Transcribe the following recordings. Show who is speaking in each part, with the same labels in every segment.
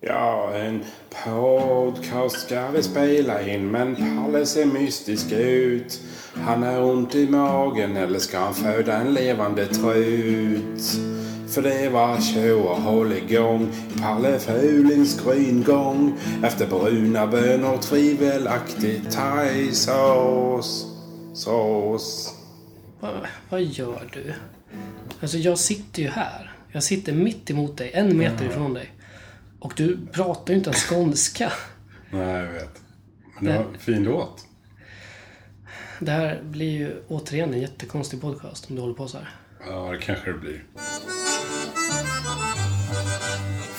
Speaker 1: Ja, en podcast ska vi spela in men Palle ser mystisk ut. Han har ont i magen eller ska han föda en levande trut? För det var tjo och hålligång i Palle Fulings gryngång efter bruna bönor tvivelaktig thaisås. Sås.
Speaker 2: Vad, vad gör du? Alltså jag sitter ju här. Jag sitter mitt emot dig, en meter ifrån dig. Och du pratar ju inte ens skånska.
Speaker 1: Nej, jag vet. Men det var en fin låt.
Speaker 2: Det här blir ju återigen en jättekonstig podcast om du håller på så här.
Speaker 1: Ja, det kanske det blir.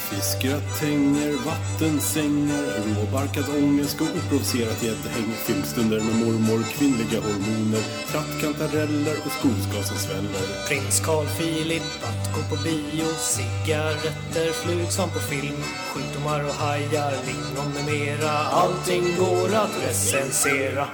Speaker 1: Fiskgratänger, vattensängar, råbarkad ångest och oprovocerat gäddhäng. Filmstunder med mormor, kvinnliga hormoner, trattkantareller och skogsgas som sväller.
Speaker 3: Prins Carl Philip att gå på bio Cigaretter, flug som på film Sjukdomar och hajar, lingon med mera Allting går att recensera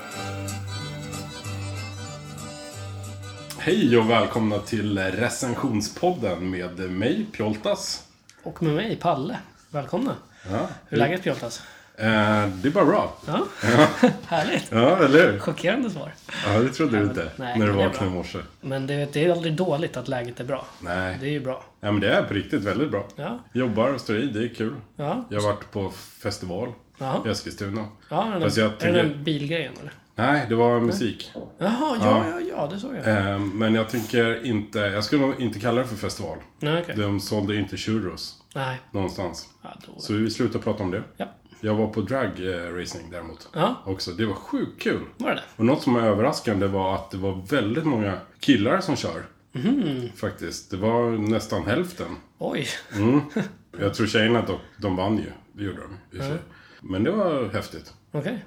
Speaker 1: Hej och välkomna till recensionspodden med mig, Pjoltas.
Speaker 2: Och med mig, Palle. Välkomna.
Speaker 1: Ja,
Speaker 2: Hur är läget Pjoltas?
Speaker 1: Eh, det är bara bra.
Speaker 2: Ja, härligt.
Speaker 1: Ja, eller hur?
Speaker 2: Chockerande svar.
Speaker 1: Ja, det trodde du inte
Speaker 2: Nej,
Speaker 1: när du
Speaker 2: det är
Speaker 1: vaknade i
Speaker 2: bra.
Speaker 1: morse.
Speaker 2: Men det, det är aldrig dåligt att läget är bra.
Speaker 1: Nej.
Speaker 2: Det är ju bra.
Speaker 1: Ja, men det är på riktigt väldigt bra.
Speaker 2: Ja.
Speaker 1: Jobbar och står i, det är kul.
Speaker 2: Ja.
Speaker 1: Jag har varit på festival
Speaker 2: Jaha.
Speaker 1: i Eskilstuna.
Speaker 2: Ja, den
Speaker 1: Fast
Speaker 2: där,
Speaker 1: jag
Speaker 2: Är det
Speaker 1: tycker-
Speaker 2: den där bilgrejen eller?
Speaker 1: Nej, det var musik.
Speaker 2: Jaha, ja, ja, ja, det såg jag.
Speaker 1: Eh, Men jag tänker inte, jag skulle nog inte kalla det för festival.
Speaker 2: Nej, okej.
Speaker 1: De sålde inte churros
Speaker 2: Nej.
Speaker 1: någonstans.
Speaker 2: Ja, då.
Speaker 1: Så vi slutar prata om det.
Speaker 2: Ja,
Speaker 1: Jag var på drag eh, racing däremot.
Speaker 2: Ja.
Speaker 1: Också. Det var sjukt kul.
Speaker 2: var det det?
Speaker 1: Och något som var överraskande var att det var väldigt många killar som kör.
Speaker 2: Mhm.
Speaker 1: Faktiskt. Det var nästan hälften.
Speaker 2: Oj.
Speaker 1: Jag tror tjejerna dock, de vann ju. Det gjorde de i och för sig. Men det var häftigt.
Speaker 2: Okej.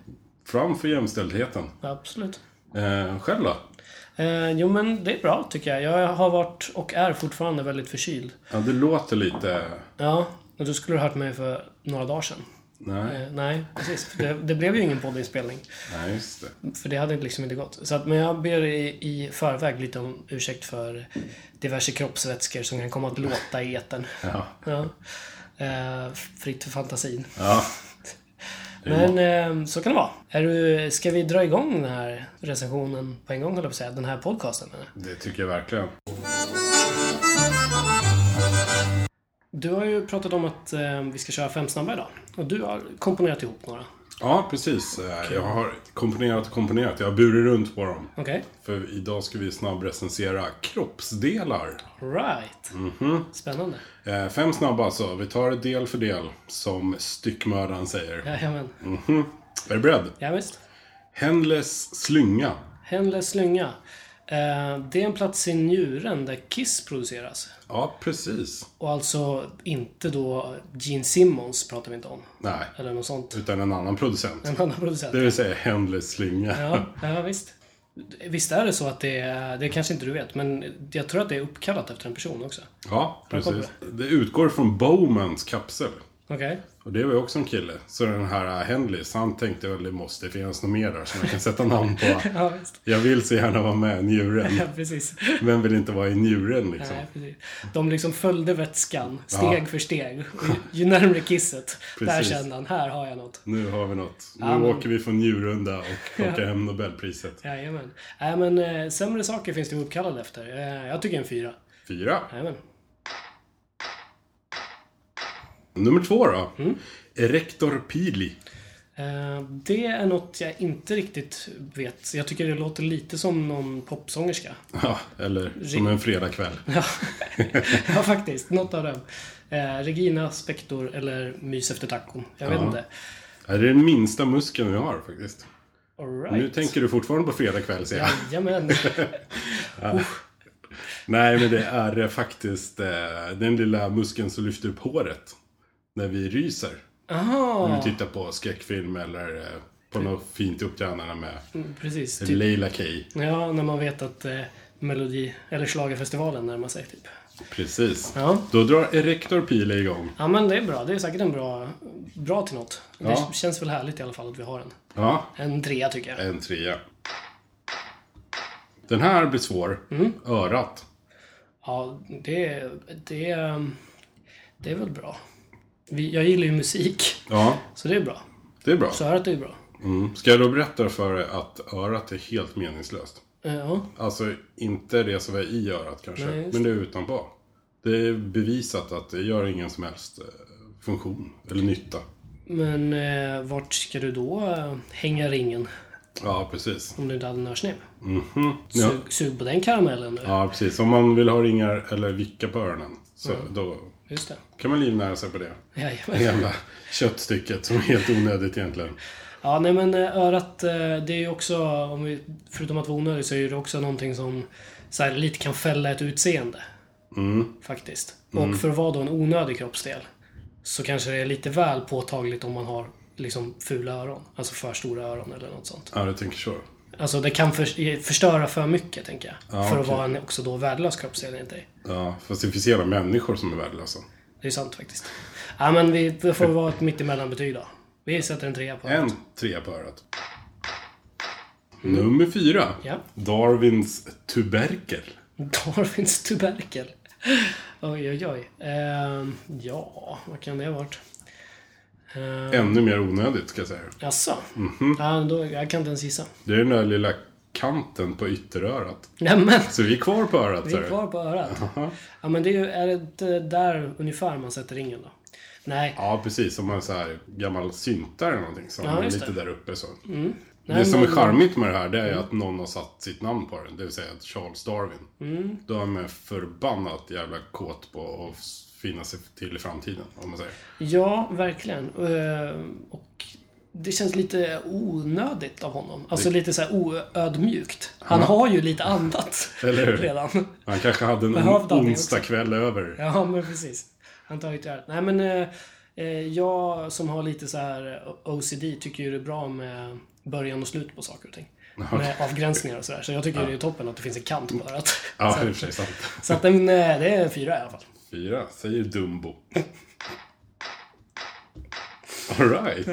Speaker 1: Fram för jämställdheten.
Speaker 2: Absolut.
Speaker 1: Eh, själv då?
Speaker 2: Eh, jo, men det är bra tycker jag. Jag har varit och är fortfarande väldigt förkyld.
Speaker 1: Ja, det låter lite...
Speaker 2: Ja, och du skulle ha hört mig för några dagar sedan.
Speaker 1: Nej,
Speaker 2: Eh, nej, precis. För det, det blev ju ingen poddinspelning.
Speaker 1: nej just det.
Speaker 2: För det hade liksom inte gått. Så att, men jag ber i, i förväg lite om ursäkt för diverse kroppsvätskor som kan komma att låta i etern.
Speaker 1: Ja.
Speaker 2: Ja. Eh, fritt för fantasin.
Speaker 1: ja.
Speaker 2: Men eh, så kan det vara. Är du, ska vi dra igång den här recensionen på en gång, höll jag på att säga. Den här podcasten. Eller?
Speaker 1: Det tycker jag verkligen.
Speaker 2: Du har ju pratat om att eh, vi ska köra fem snabba idag. Och du har komponerat ihop några.
Speaker 1: Ja, precis. Eh, Jag har komponerat och komponerat. Jag har burit runt på dem.
Speaker 2: Okej?
Speaker 1: För idag ska vi snabbrecensera kroppsdelar.
Speaker 2: Right. Spännande.
Speaker 1: Eh, Fem snabba alltså. Vi tar det del för del, som styckmördaren säger.
Speaker 2: Jajamän.
Speaker 1: Är du beredd?
Speaker 2: Ja, visst.
Speaker 1: Henles slynga.
Speaker 2: Henles slynga. Eh, det är en plats i njuren där Kiss produceras.
Speaker 1: Ja, precis.
Speaker 2: Och alltså inte då Gene Simmons pratar vi inte om.
Speaker 1: Nej,
Speaker 2: Eller något sånt.
Speaker 1: utan en annan producent.
Speaker 2: En annan producent.
Speaker 1: Det vill säga Henles slynga.
Speaker 2: Ja, ja, visst. Visst är det så att det är, det kanske inte du vet, men jag tror att det är uppkallat efter en person också.
Speaker 1: Ja, precis.
Speaker 2: kopplar
Speaker 1: Det utgår från Bowmans kapsel.
Speaker 2: Okej?
Speaker 1: Och det var ju också en kille. Så den här äh, Henleys, han tänkte väl det måste finnas något mer där som jag kan sätta namn på.
Speaker 2: Ja, visst.
Speaker 1: Jag vill så gärna vara med i njuren.
Speaker 2: Ja, precis.
Speaker 1: Vem vill inte vara i njuren liksom?
Speaker 2: Nej, precis. De liksom följde vätskan steg för steg. Och ju- ju närmre kisset, där
Speaker 1: Precis.
Speaker 2: kände han, här har jag något.
Speaker 1: Nu har vi något. Nu
Speaker 2: men-
Speaker 1: åker vi från Njurunda och plockar hem Nobelpriset.
Speaker 2: Jajamän. Nej, men eh, sämre saker finns det uppkallade efter. Eh, jag tycker en fyra.
Speaker 1: Fyra.
Speaker 2: Jajamän.
Speaker 1: Nummer två då.
Speaker 2: Mm.
Speaker 1: Erector Pili.
Speaker 2: Eh, det är något jag inte riktigt vet. Jag tycker det låter lite som någon popsångerska.
Speaker 1: Ja, eller som en fredagkväll.
Speaker 2: Ja, ja faktiskt. Något av dem. Eh, Regina, Spektor eller Mys efter tacon. Jag vet
Speaker 1: Ja.
Speaker 2: inte.
Speaker 1: Det är den minsta muskeln vi har faktiskt.
Speaker 2: All
Speaker 1: Nu
Speaker 2: right.
Speaker 1: tänker du fortfarande på fredagkväll ser jag.
Speaker 2: Jajamän.
Speaker 1: Nej, men det är eh, faktiskt eh, den lilla muskeln som lyfter upp håret. När vi ryser. När
Speaker 2: Aha,
Speaker 1: vi tittar på skräckfilm eller eh, på något fint uppträdande med
Speaker 2: precis. Typ.
Speaker 1: Leila Kay.
Speaker 2: Ja, när man vet att eh, Melodi eller schlagerfestivalen närmar sig. Typ.
Speaker 1: Precis.
Speaker 2: Ja.
Speaker 1: Då drar Erector Pili igång.
Speaker 2: ja, men det är bra. Det är säkert en bra, bra till något.
Speaker 1: Ja.
Speaker 2: Det känns väl härligt i alla fall att vi har en.
Speaker 1: Ja,
Speaker 2: En trea tycker jag.
Speaker 1: En trea. Den här blir svår.
Speaker 2: Mm.
Speaker 1: Örat.
Speaker 2: Ja, det, det, det är um, väl bra. vi, jag gillar ju musik,
Speaker 1: Ja,
Speaker 2: så det är bra.
Speaker 1: det är bra.
Speaker 2: Så örat är ju bra.
Speaker 1: Mm. Ska jag då berätta för dig att örat är helt meningslöst?
Speaker 2: Eh, Ja,
Speaker 1: Alltså, inte det som är i örat kanske,
Speaker 2: Nej, just
Speaker 1: men det är utanpå. Det är bevisat att det gör ingen som helst eh, funktion eller nytta.
Speaker 2: men eh, vart ska du då eh, hänga ringen
Speaker 1: Ja, precis.
Speaker 2: om du inte hade nörsnäbb?
Speaker 1: Mhm. Ja.
Speaker 2: Sug, sug på den karamellen nu.
Speaker 1: ja, precis. Om man vill ha ringar eller vicka på öronen, så då
Speaker 2: Just det.
Speaker 1: kan man livnära sig på det.
Speaker 2: Jajamän.
Speaker 1: Det jävla köttstycket som är helt onödigt egentligen.
Speaker 2: Ja, nej men eh, örat, eh, det är ju också, om vi, förutom att vara onödigt, så är det också någonting som så här, lite kan fälla ett utseende.
Speaker 1: Mm.
Speaker 2: Faktiskt. Och för att vara då en onödig kroppsdel så kanske det är lite väl påtagligt om man har liksom fula öron. Alltså för stora öron eller något sånt.
Speaker 1: Ja, du tänker så.
Speaker 2: Alltså det kan för, förstöra för mycket, tänker jag.
Speaker 1: Ja,
Speaker 2: för att
Speaker 1: okej.
Speaker 2: vara en också då värdelös kroppsdel enligt dig.
Speaker 1: Ja, fast det finns hela människor som är värdelösa.
Speaker 2: Det är sant faktiskt. Ja, men vi det får vara ett mittemellanbetyg då. Vi sätter en trea på
Speaker 1: En
Speaker 2: örat.
Speaker 1: trea på örat. Nummer fyra.
Speaker 2: Mm. Ja.
Speaker 1: Darwins tuberkel.
Speaker 2: Darwins tuberkel. Oj, oj, oj. Ehm, ja, vad kan det ha varit? Uh,
Speaker 1: Ännu mer onödigt ska jag säga.
Speaker 2: Jaså? Ja, då, jag kan inte ens gissa.
Speaker 1: Det är den där lilla kanten på ytterörat.
Speaker 2: Nämen!
Speaker 1: Så vi är kvar på örat.
Speaker 2: Vi
Speaker 1: sa
Speaker 2: är
Speaker 1: du?
Speaker 2: kvar på örat. Ja, men det är ju, är det inte där ungefär man sätter ringen då? Nej,
Speaker 1: Ja, precis. Som en så här gammal syntare eller någonting. Som
Speaker 2: Ja,
Speaker 1: är
Speaker 2: just
Speaker 1: lite
Speaker 2: det. Mm.
Speaker 1: där uppe så.
Speaker 2: Nej,
Speaker 1: det som är
Speaker 2: men- Mm.
Speaker 1: charmigt med det här, det är ju att någon har satt sitt namn på den. Det vill säga att Charles Darwin.
Speaker 2: Mm.
Speaker 1: Då är man förbannat jävla kåt på att finna sig till i framtiden, om man säger.
Speaker 2: ja, verkligen. Ehm, och det känns lite onödigt av honom. Alltså lite så här oödmjukt. Han har ju lite annat
Speaker 1: Eller hur?
Speaker 2: redan.
Speaker 1: Han kanske hade en
Speaker 2: Behövde han det
Speaker 1: onsdag kväll över.
Speaker 2: Ja, men precis. Han tar ju till örat. Nej, men eh, eh, jag som har lite så här eh, OCD tycker ju det är bra med början och slut på saker och ting. Med avgränsningar och sådär. Så jag tycker det är toppen att det finns en kant på örat.
Speaker 1: Ja, i
Speaker 2: så
Speaker 1: och för sig sant.
Speaker 2: så att, den, eh, det är en fyra i alla fall.
Speaker 1: Fyra, säger Dumbo. Alright.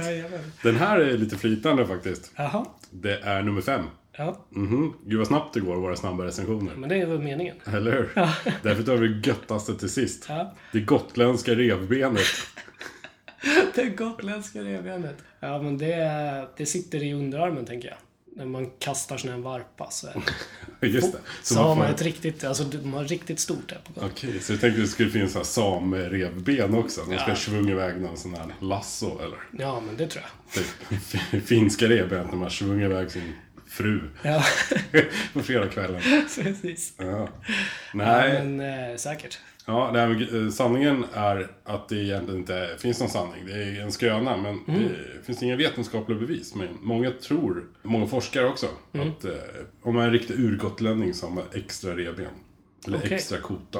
Speaker 1: Den här är lite flytande faktiskt.
Speaker 2: Jaha.
Speaker 1: Det är nummer fem.
Speaker 2: Ja,
Speaker 1: Mhm. Gud vad snabbt det går, våra snabba recensioner.
Speaker 2: men det är väl meningen.
Speaker 1: Eller hur? Därför tar vi det göttaste till sist.
Speaker 2: Ja.
Speaker 1: Det gotländska revbenet.
Speaker 2: Det gotländska revbenet. Ja, men det, det sitter i underarmen tänker jag. När man kastar sån här varpa så, är det.
Speaker 1: Just det.
Speaker 2: så har man
Speaker 1: får-
Speaker 2: ett riktigt, alltså de har riktigt stort där på Gotland.
Speaker 1: Okej, så jag tänkte att det skulle finnas så här samerevben också. De ska
Speaker 2: Ja.
Speaker 1: svunga iväg någon sån här lasso eller
Speaker 2: Ja, men det tror jag.
Speaker 1: typ finska revben när man svunga iväg sin fru
Speaker 2: Ja,
Speaker 1: på fredagskvällen.
Speaker 2: precis.
Speaker 1: Ja. Nej,
Speaker 2: Men eh, säkert.
Speaker 1: Ja, det här med, eh, sanningen är att det egentligen inte finns någon sanning. Det är en skröna, men
Speaker 2: Mm.
Speaker 1: det finns inga vetenskapliga bevis. Men många tror, många forskare också,
Speaker 2: Mm.
Speaker 1: att eh, om man är en riktig urgotlänning så har man extra revben. Eller
Speaker 2: Okej. Mm.
Speaker 1: extra kota.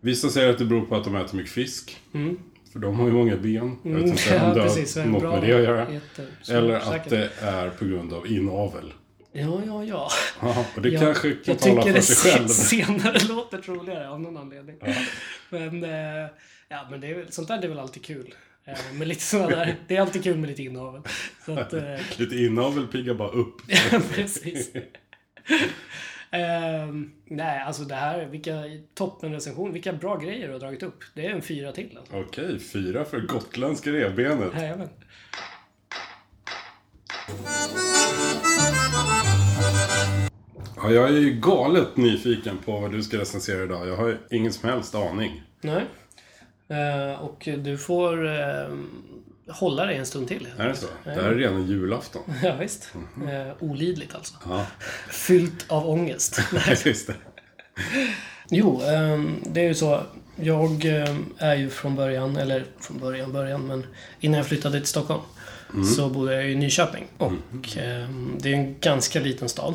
Speaker 1: Vissa säger att det beror på att de äter mycket fisk. För de har ju många ben. Jag vet inte
Speaker 2: Mm.
Speaker 1: om det har något med det att göra. Eller att eh, det är på grund av inavel.
Speaker 2: Ja, ja, ja.
Speaker 1: Ja, och det
Speaker 2: jag,
Speaker 1: kanske kan
Speaker 2: jag
Speaker 1: tala
Speaker 2: tycker
Speaker 1: för
Speaker 2: det
Speaker 1: sig själv.
Speaker 2: senare låter troligare av någon anledning. Men, eh, ja, men det är, väl- sånt där det är väl alltid kul. Eh, Med lite sådana där, det är alltid kul med lite inavel. Så att, eh,
Speaker 1: Lite inavel piggar bara upp.
Speaker 2: precis. Ehm, nej, alltså det här, vilka toppenrecension, vilka bra grejer du har dragit upp. Det är en fyra till. Alltså.
Speaker 1: Okej, fyra för gotländska revbenet.
Speaker 2: Jajamän.
Speaker 1: Ja, jag är ju galet nyfiken på vad du ska recensera idag. Jag har ju ingen som helst aning.
Speaker 2: Nej. Eh, och du får eh, hålla dig en stund till.
Speaker 1: Är det så? Det här är redan julafton.
Speaker 2: Ja, visst. Eh, olidligt alltså.
Speaker 1: Ja,
Speaker 2: Fyllt av ångest.
Speaker 1: just det.
Speaker 2: jo, ehm, det är ju så. Jag ehm, är ju från början, eller från början, början, men innan jag flyttade till Stockholm så bodde jag i Nyköping. Och ehm, det är en ganska liten stad.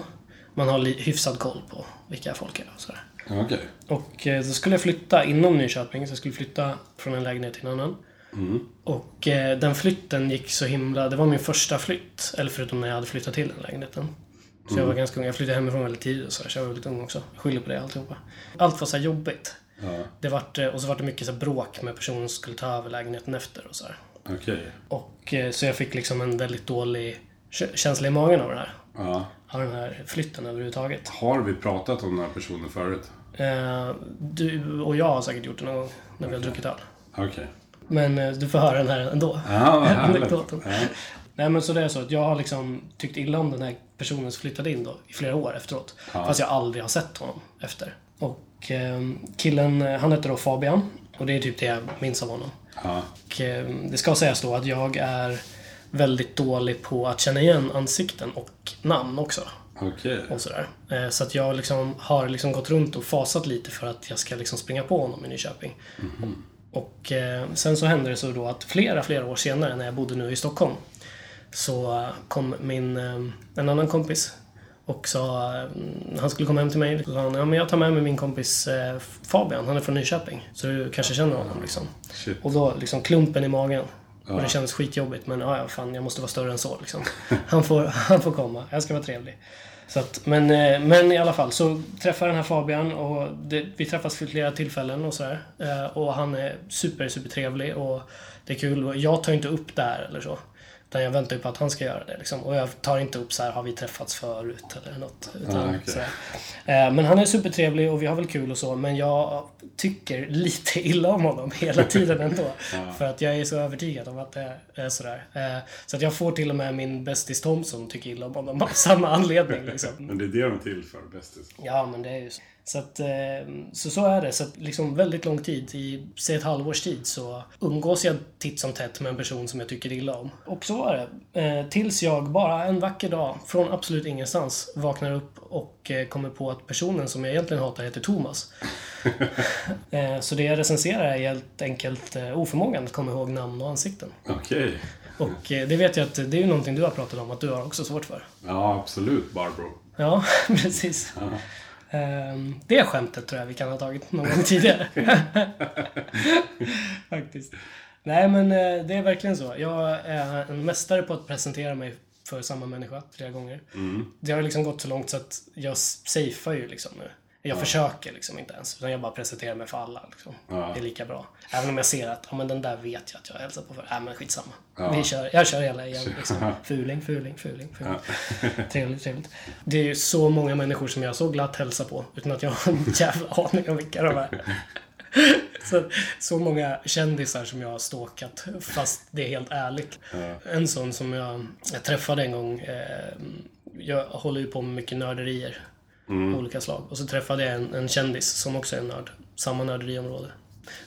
Speaker 2: Man har li- hyfsad koll på vilka folk är och sådär.
Speaker 1: Ja, Okej.
Speaker 2: Och eh, så skulle jag flytta inom Nyköping, så jag skulle flytta från en lägenhet till en annan. Och eh, den flytten gick så himla... Det var min första flytt. Eller förutom när jag hade flyttat till den lägenheten. Så jag var ganska ung. Jag flyttade hemifrån väldigt tidigt och så, så jag var väldigt ung också. Jag skyller på det alltihopa. Allt var så här jobbigt.
Speaker 1: Ja,
Speaker 2: Det vart, eh, och så var det mycket så här bråk med personen som skulle ta över lägenheten efter och så här.
Speaker 1: okej.
Speaker 2: Och eh, så jag fick liksom en väldigt dålig kä- känsla i magen av det här.
Speaker 1: Ja.
Speaker 2: Av den här flytten överhuvudtaget.
Speaker 1: Har vi pratat om den här personen förut?
Speaker 2: Eh, du och jag har säkert gjort det någon gång när vi har druckit öl.
Speaker 1: Okej.
Speaker 2: Men eh, du får höra den här ändå.
Speaker 1: Ja, vad härligt.
Speaker 2: Anekdoten.
Speaker 1: Ja.
Speaker 2: Nej men så det är så att jag har liksom tyckt illa om den här personen som flyttade in då i flera år efteråt.
Speaker 1: Ja.
Speaker 2: Fast jag aldrig har sett honom efter. Och eh, killen, eh, han heter då Fabian. Och det är typ det jag minns av honom.
Speaker 1: Ja.
Speaker 2: Och, eh, det ska sägas då att jag är väldigt dålig på att känna igen ansikten och namn också.
Speaker 1: Okej.
Speaker 2: Och sådär. Eh, Så att jag liksom har liksom gått runt och fasat lite för att jag ska liksom springa på honom i Nyköping. Och eh, sen så hände det så då att flera, flera år senare när jag bodde nu i Stockholm så eh, kom min, eh, en annan kompis och sa, eh, han skulle komma hem till mig, så sa han, ja men jag tar med mig min kompis eh, Fabian, han är från Nyköping. Så du kanske känner honom liksom.
Speaker 1: Shit.
Speaker 2: Och då liksom klumpen i magen. Och det kändes skitjobbigt men ja, ja, fan jag måste vara större än så liksom. Han får, han får komma, jag ska vara trevlig. Så att, men, eh, men i alla fall så träffar jag den här Fabian och det, vi träffas vid flera tillfällen och sådär. Eh, Och han är super, super trevlig och det är kul. Och jag tar inte upp det här eller så. Utan jag väntar ju på att han ska göra det liksom. Och jag tar inte upp så här, har vi träffats förut eller något. Utan,
Speaker 1: Ah, okej.
Speaker 2: så här. Eh, Men han är supertrevlig och vi har väl kul och så, men jag tycker lite illa om honom hela tiden ändå. För att jag är så övertygad om att det är sådär. Eh, Så att jag får till och med min bästis Tom som tycker illa om honom av samma anledning. Liksom.
Speaker 1: Men det är det de är till för, bästis.
Speaker 2: Ja, men det är ju så. Så, att, eh, så så är det. Så att liksom väldigt lång tid, i säg ett halvårs tid, så umgås jag titt som tätt med en person som jag tycker illa om. Och så var det. Eh, Tills jag bara en vacker dag, från absolut ingenstans, vaknar upp och eh, kommer på att personen som jag egentligen hatar heter Thomas. Eh, Så det jag recenserar är helt enkelt eh, oförmågan att komma ihåg namn och ansikten.
Speaker 1: Okej.
Speaker 2: Och eh, det vet jag att det är ju någonting du har pratat om att du har också svårt för.
Speaker 1: Ja, absolut, Barbro.
Speaker 2: Ja, precis. Ehm, Det skämtet tror jag vi kan ha tagit någon gång tidigare. Faktiskt. Nej, men eh, det är verkligen så. Jag är en mästare på att presentera mig för samma människa flera gånger.
Speaker 1: Mm.
Speaker 2: Det har liksom gått så långt så att jag s- safear ju liksom nu. Jag försöker liksom inte ens, utan jag bara presenterar mig för alla. Liksom.
Speaker 1: Ja.
Speaker 2: Det är lika bra. Även om jag ser att, ja men den där vet jag att jag har hälsat på förut. Nej men skitsamma.
Speaker 1: Ja.
Speaker 2: Vi kör, jag kör hela igen liksom. Fuling, fuling, fuling, fuling. Trevligt, trevligt. Det är ju så många människor som jag så glatt hälsar på utan att jag har en jävla aning om vilka de är. Så, så många kändisar som jag har stalkat fast det är helt ärligt. En sån som jag, jag träffade en gång, eh, jag håller ju på med mycket nörderier. av Olika slag. Och så träffade jag en, en kändis som också är en nörd. Samma nörderiområde.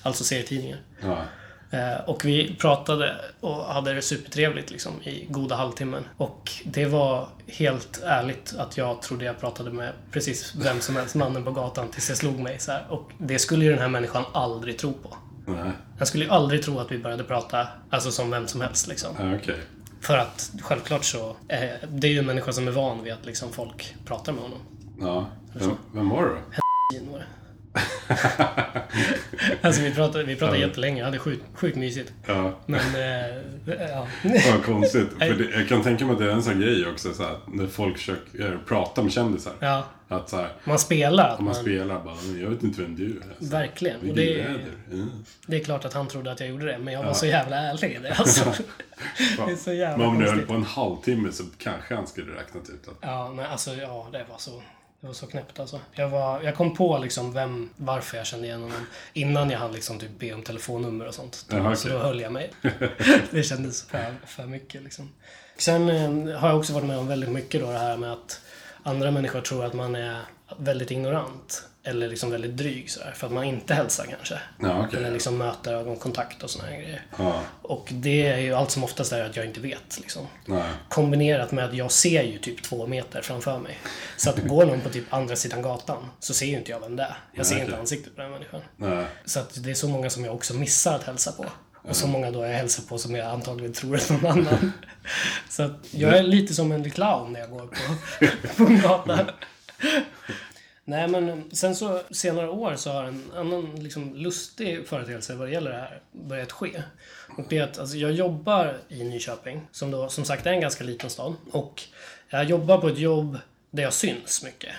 Speaker 2: Alltså serietidningar.
Speaker 1: Ja.
Speaker 2: Eh, Och vi pratade och hade det supertrevligt liksom, i goda halvtimmen. Och det var helt ärligt att jag trodde jag pratade med precis vem som helst, mannen på gatan, tills jag slog mig. Så här. Och det skulle ju den här människan aldrig tro på.
Speaker 1: Nej.
Speaker 2: Han skulle ju aldrig tro att vi började prata alltså, som vem som helst. Liksom.
Speaker 1: Ja, Okej.
Speaker 2: För att självklart så, eh, det är ju en människa som är van vid att liksom, folk pratar med honom.
Speaker 1: Ja. Vem, vem var du?
Speaker 2: Gino. alltså vi pratade, vi pratade jättelänge, jag hade sjukt, sjukt mysigt.
Speaker 1: Ja.
Speaker 2: Men, eh, ja.
Speaker 1: Vad konstigt. För det, jag kan tänka mig att det är en sån grej också, så här, när folk försöker eh, prata med kändisar.
Speaker 2: ja.
Speaker 1: Att så här,
Speaker 2: Man spelar. att
Speaker 1: om man
Speaker 2: Man,
Speaker 1: spelar bara, "Men jag vet inte vem du är. Så,
Speaker 2: verkligen. Och
Speaker 1: Vilken
Speaker 2: det,
Speaker 1: väder. Ja.
Speaker 2: det är klart att han trodde att jag gjorde det, men jag var så jävla ärlig i det. Alltså. det är så jävla
Speaker 1: Men om du höll
Speaker 2: konstigt.
Speaker 1: på en halvtimme så kanske han skulle typ räknat ut att...
Speaker 2: Ja, men alltså ja, det var så. Det var så knäppt alltså. Jag, var, jag kom på liksom vem, varför jag kände igen honom innan jag hann liksom typ be om telefonnummer och sånt. Då,
Speaker 1: Jaha,
Speaker 2: Så
Speaker 1: okej.
Speaker 2: då höll jag mig. det kändes för, för mycket liksom. Sen eh, har jag också varit med om väldigt mycket då det här med att andra människor tror att man är väldigt ignorant. Eller liksom väldigt dryg sådär. För att man inte hälsar kanske.
Speaker 1: Ja, okej.
Speaker 2: Eller liksom möter ögonkontakt och såna här grejer.
Speaker 1: Ja.
Speaker 2: Och det är ju allt som oftast är att jag inte vet liksom.
Speaker 1: Nej.
Speaker 2: Kombinerat med att jag ser ju typ två meter framför mig. Så att går någon på typ andra sidan gatan så ser ju inte jag vem det är. Jag ser
Speaker 1: Nej,
Speaker 2: inte
Speaker 1: okej.
Speaker 2: ansiktet på den människan.
Speaker 1: Nej.
Speaker 2: Så att det är så många som jag också missar att hälsa på. Och så många då jag hälsar på som jag antagligen tror är någon annan. Så att jag är lite som en clown när jag går på, på gatan. Nej men sen så senare år så har en annan liksom lustig företeelse vad det gäller det här börjat ske. Och det är att alltså, jag jobbar i Nyköping, som då som sagt är en ganska liten stad. Och jag jobbar på ett jobb där jag syns mycket.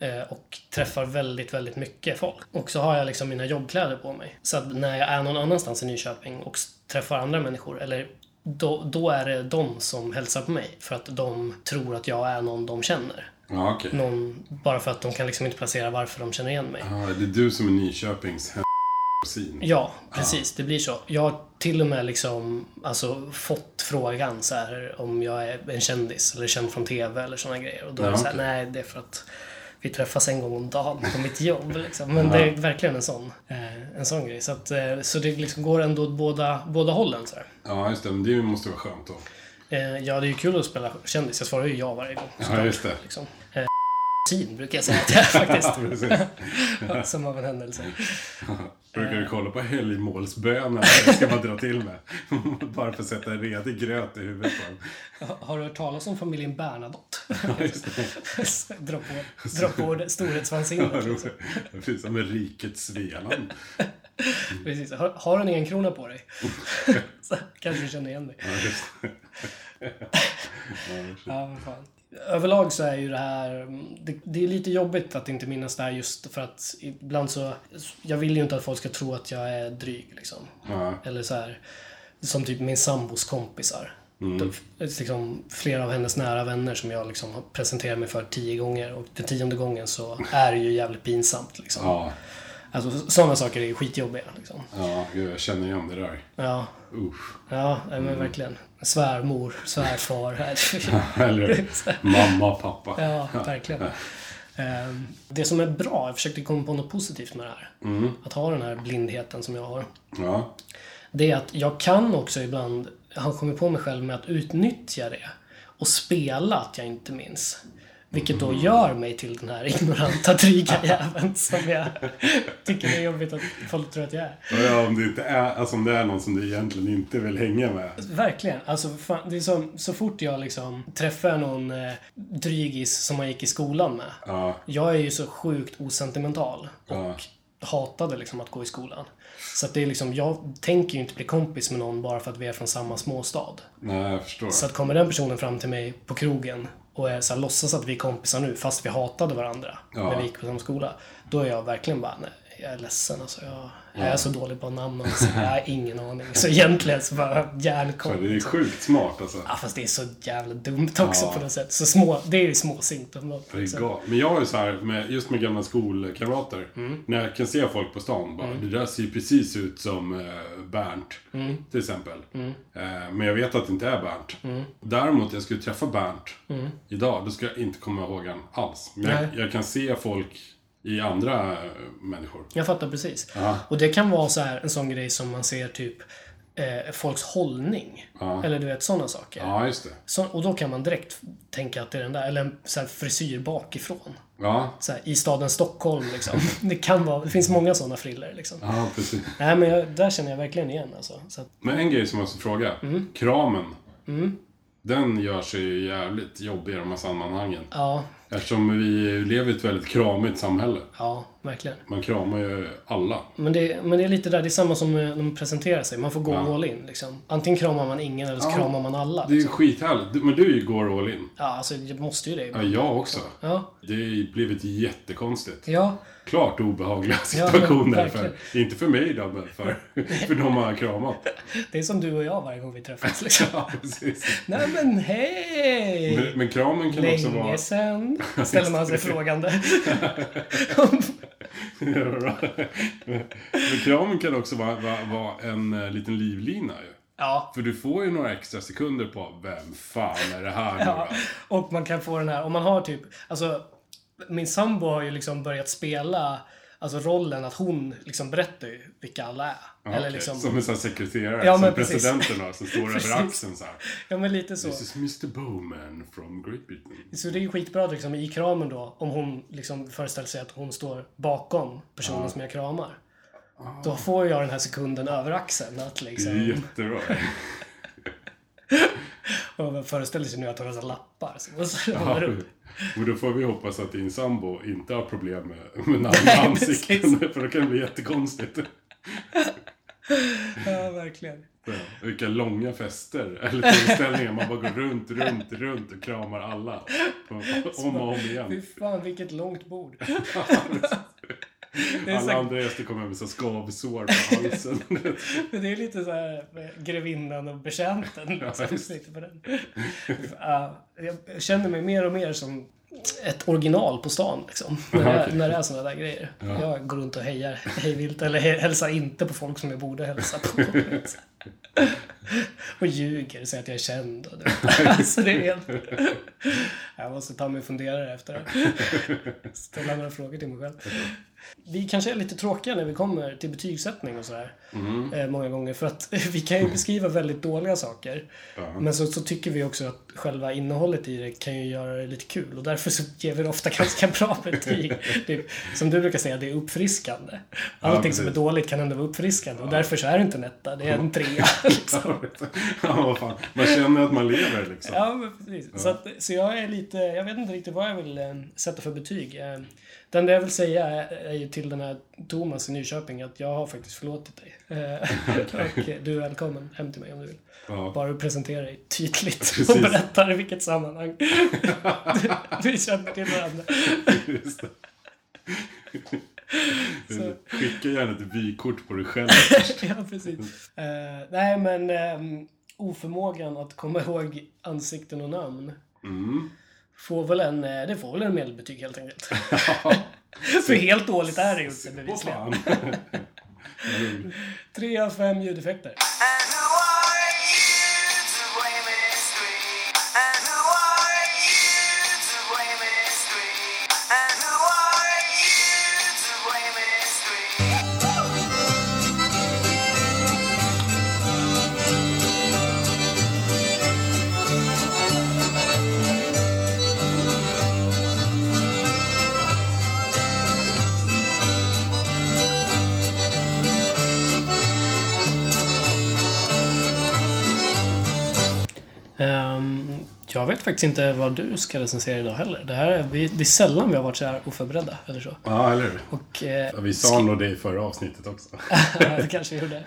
Speaker 2: Eh, Och träffar väldigt, väldigt mycket folk. Och så har jag liksom mina jobbkläder på mig. Så att när jag är någon annanstans i Nyköping och s- träffar andra människor, eller då, då är det de som hälsar på mig. För att de tror att jag är någon de känner.
Speaker 1: Ja, okej.
Speaker 2: Någon, bara för att de kan liksom inte placera varför de känner igen mig.
Speaker 1: Ja, det är du som är Nyköpings apelsin.
Speaker 2: Ja, precis. Det blir så. Jag har till och med liksom, alltså, fått frågan så här, om jag är en kändis eller känd från TV eller sådana grejer. Och då är det
Speaker 1: Ja,
Speaker 2: så här, nej det är för att vi träffas en gång om dagen på mitt jobb. Liksom. Men det är verkligen en sån, eh, en sån grej. Så, att, eh, så det liksom går ändå åt båda, båda hållen. Så här.
Speaker 1: Ja, just det. Men det måste vara skönt då.
Speaker 2: Eh, ja, det är ju kul att spela kändis. Jag svarar ju ja varje gång.
Speaker 1: Ja, just det.
Speaker 2: Liksom. Eh, Sin brukar jag säga att jag är faktiskt.
Speaker 1: Precis.
Speaker 2: Som av en händelse.
Speaker 1: Brukar du kolla på helgmålsbönen? Det ska man dra till med. Bara för att sätta en redig gröt i huvudet på en.
Speaker 2: Har du hört talas om familjen Bernadotte?
Speaker 1: Ja, just det.
Speaker 2: dra på, dra på det- storhetsvansinnet. Liksom.
Speaker 1: Precis som med rikets Svealand.
Speaker 2: Precis. Har, har en egen krona på dig? Så, kanske du känner igen dig.
Speaker 1: Ja, just det.
Speaker 2: Ja, vad fan. Överlag så är ju det här, mm, det, det är lite jobbigt att inte minnas det här just för att ibland så, jag vill ju inte att folk ska tro att jag är dryg liksom.
Speaker 1: Ja,
Speaker 2: Eller så här, som typ min sambos kompisar. De, liksom, flera av hennes nära vänner som jag liksom har presenterat mig för tio gånger och den tionde gången så är det ju jävligt pinsamt liksom.
Speaker 1: ja,
Speaker 2: Alltså sådana saker är ju skitjobbiga liksom.
Speaker 1: ja gud, jag känner igen det där.
Speaker 2: Ja,
Speaker 1: Usch.
Speaker 2: ja nej, men verkligen. Svärmor, svärfar. här.
Speaker 1: Eller mamma, pappa.
Speaker 2: ja, verkligen. Ehm, Det som är bra, jag försökte komma på något positivt med det här. Att ha den här blindheten som jag har.
Speaker 1: Ja,
Speaker 2: Det är att jag kan också ibland, han kommer på mig själv med att utnyttja det. Och spela att jag inte minns. Vilket då gör mig till den här ignoranta, dryga jäveln som jag tycker det är jobbigt att folk tror att jag är.
Speaker 1: Och ja om, det inte är, alltså, om det är någon som du egentligen inte vill hänga med.
Speaker 2: Verkligen. Alltså, fan, det är som, så fort jag liksom träffar någon eh, drygis som man gick i skolan med.
Speaker 1: Ja,
Speaker 2: Jag är ju så sjukt osentimental och
Speaker 1: Ja.
Speaker 2: hatade liksom att gå i skolan. Så att det är liksom, jag tänker ju inte bli kompis med någon bara för att vi är från samma småstad.
Speaker 1: nej, jag förstår.
Speaker 2: Så att kommer den personen fram till mig på krogen och är så här, låtsas att vi är kompisar nu fast vi hatade varandra
Speaker 1: Ja.
Speaker 2: när vi gick på samma skola. Då är jag verkligen bara, nej, jag är ledsen alltså. Jag, jag är så dålig på namn och så, jag har ingen aning. Så egentligen så bara
Speaker 1: Ja,
Speaker 2: järnkoll.
Speaker 1: det är sjukt smart alltså.
Speaker 2: Ja, fast det är så jävla dumt också
Speaker 1: Ja.
Speaker 2: på något sätt. Så små, det är ju småsint.
Speaker 1: Det
Speaker 2: Liksom.
Speaker 1: är galet. Men jag är så här, med, just med gamla skolkamrater. När jag kan se folk på stan, bara, det där ser ju precis ut som eh, Bernt. Till exempel. Eh, men jag vet att det inte är Bernt. Däremot, jag skulle träffa Bernt idag, då ska jag inte komma ihåg han alls. Men
Speaker 2: Nej.
Speaker 1: jag, jag kan se folk i andra eh, människor.
Speaker 2: Jag fattar precis. Och det kan vara så här, en sån grej som man ser typ eh, folks hållning. Eller du vet sådana saker.
Speaker 1: Ja, just det.
Speaker 2: Så, och då kan man direkt tänka att det är den där, eller en så här frisyr bakifrån.
Speaker 1: Ja,
Speaker 2: Så här, I staden Stockholm liksom. Det kan vara, det finns många sådana friller liksom.
Speaker 1: ja precis.
Speaker 2: Nej men jag, där känner jag verkligen igen alltså. Så att,
Speaker 1: Men en grej som jag måste fråga. Kramen. Den gör sig ju jävligt jobbig i de här sammanhangen.
Speaker 2: ja,
Speaker 1: Eftersom vi lever i ett väldigt kramigt samhälle.
Speaker 2: ja, verkligen.
Speaker 1: Man kramar ju alla.
Speaker 2: Men det, men det är lite där, det är samma som eh, när man presenterar sig. Man får gå all in liksom. Antingen kramar man ingen eller så
Speaker 1: Ja.
Speaker 2: kramar man alla.
Speaker 1: Det är ju
Speaker 2: Liksom.
Speaker 1: skithärligt. Du- Men du går all in.
Speaker 2: Ja, alltså jag måste ju det.
Speaker 1: Ja,
Speaker 2: ibland.
Speaker 1: jag också.
Speaker 2: Ja,
Speaker 1: Det har ju blivit jättekonstigt.
Speaker 2: ja.
Speaker 1: Klart obehagliga
Speaker 2: Ja,
Speaker 1: situationer.
Speaker 2: verkligen.
Speaker 1: för, inte för mig då, men för, för de man har kramat.
Speaker 2: Det är som du och jag varje gång vi träffas liksom.
Speaker 1: Ja, precis.
Speaker 2: Nej men hej!
Speaker 1: Men, men kramen kan också vara...
Speaker 2: Länge sen ställer man sig frågande.
Speaker 1: men kramen kan också vara, vara, vara en eh, liten livlina ju.
Speaker 2: ja,
Speaker 1: För du får ju några extra sekunder på vem fan är det här nu
Speaker 2: ja.
Speaker 1: då?
Speaker 2: Och man kan få den här, om man har typ, alltså min sambo har ju liksom börjat spela alltså rollen att hon liksom berättar ju vilka alla är.
Speaker 1: Ja,
Speaker 2: Eller
Speaker 1: okej.
Speaker 2: liksom,
Speaker 1: Som en sån här sekreterare,
Speaker 2: Ja, men
Speaker 1: som
Speaker 2: precis.
Speaker 1: presidenten har, som står
Speaker 2: Precis.
Speaker 1: över axeln så här.
Speaker 2: ja men lite så.
Speaker 1: This is Mr Bowman from Great Britain.
Speaker 2: Så det är ju skitbra liksom, i kramen då, om hon liksom föreställer sig att hon står bakom personen som jag kramar.
Speaker 1: Ah.
Speaker 2: Då får jag den här sekunden över axeln att
Speaker 1: Det
Speaker 2: liksom...
Speaker 1: är jättebra.
Speaker 2: Och man föreställer sig nu att hon har så här lappar som så
Speaker 1: Ja.
Speaker 2: rullar upp.
Speaker 1: Men då får vi hoppas att din sambo inte har problem med, med namn och ansikten, för då kan det bli jättekonstigt.
Speaker 2: Ja, verkligen.
Speaker 1: Ja, Vilka långa fester, eller tillställningar, man bara går runt, runt, runt och kramar alla. På, om och om
Speaker 2: Fy
Speaker 1: igen.
Speaker 2: fan, vilket långt bord. det, är så
Speaker 1: Alla
Speaker 2: här,
Speaker 1: andra gäster kommer hem med så här skavsår på halsen.
Speaker 2: men det är lite så här med grevinnan och betjänten. liksom,
Speaker 1: visst.
Speaker 2: lite på den. Ja, jag känner mig mer och mer som ett original på stan liksom. När, det, när det är sådana där grejer. Jag går runt och hejar hejvilt. Eller he- hälsar inte på folk som jag borde hälsa på. och ljuger och säger att jag är känd. Och du vet. alltså det är helt... jag måste ta mig en funderare efter det. Ställa några frågor till mig själv. Vi kanske är lite tråkiga när vi kommer till betygssättning och sådär. Eh, många gånger. För att vi kan ju beskriva väldigt dåliga saker. Men så, så tycker vi också att själva innehållet i det kan ju göra det lite kul. Och därför så ger vi det ofta ganska bra betyg. Det, är- som du brukar säga, det är uppfriskande. Allting som är
Speaker 1: precis.
Speaker 2: dåligt kan ändå vara uppfriskande. Och därför så är det inte en etta, det är en trea. Liksom.
Speaker 1: ja, vad fan. Man känner att man lever liksom.
Speaker 2: Ja, men precis. Så, att, så jag är lite, jag vet inte riktigt vad jag vill eh, sätta för betyg. Eh, Det enda jag vill säga är, är ju till den här Thomas i Nyköping att jag har faktiskt förlåtit dig. Eh, Och eh, du är välkommen hem till mig om du vill.
Speaker 1: Ja.
Speaker 2: Bara du presenterar dig tydligt
Speaker 1: Precis.
Speaker 2: och berättar i vilket sammanhang. Vi känner till varandra.
Speaker 1: Just det. Skicka gärna ett vykort på dig själv.
Speaker 2: ja, precis. Eh, nej, men ehm, oförmågan att komma ihåg ansikten och namn.
Speaker 1: Mm.
Speaker 2: Får väl en, eh, det får väl en medelbetyg helt enkelt. För helt dåligt är det ju inte
Speaker 1: Vad
Speaker 2: bevisligen.
Speaker 1: fan.
Speaker 2: Tre av fem ljudeffekter.
Speaker 4: And who are you to blame history? And who are you to blame history? And who are you to blame history?
Speaker 2: Ehm, jag vet faktiskt inte vad du ska recensera idag heller. Det, här är, vi, det är sällan vi har varit så här oförberedda eller så.
Speaker 1: Ja, eller hur?
Speaker 2: Och, eh,
Speaker 1: Ja, Vi sa nog det i förra avsnittet också.
Speaker 2: ja, det kanske vi gjorde.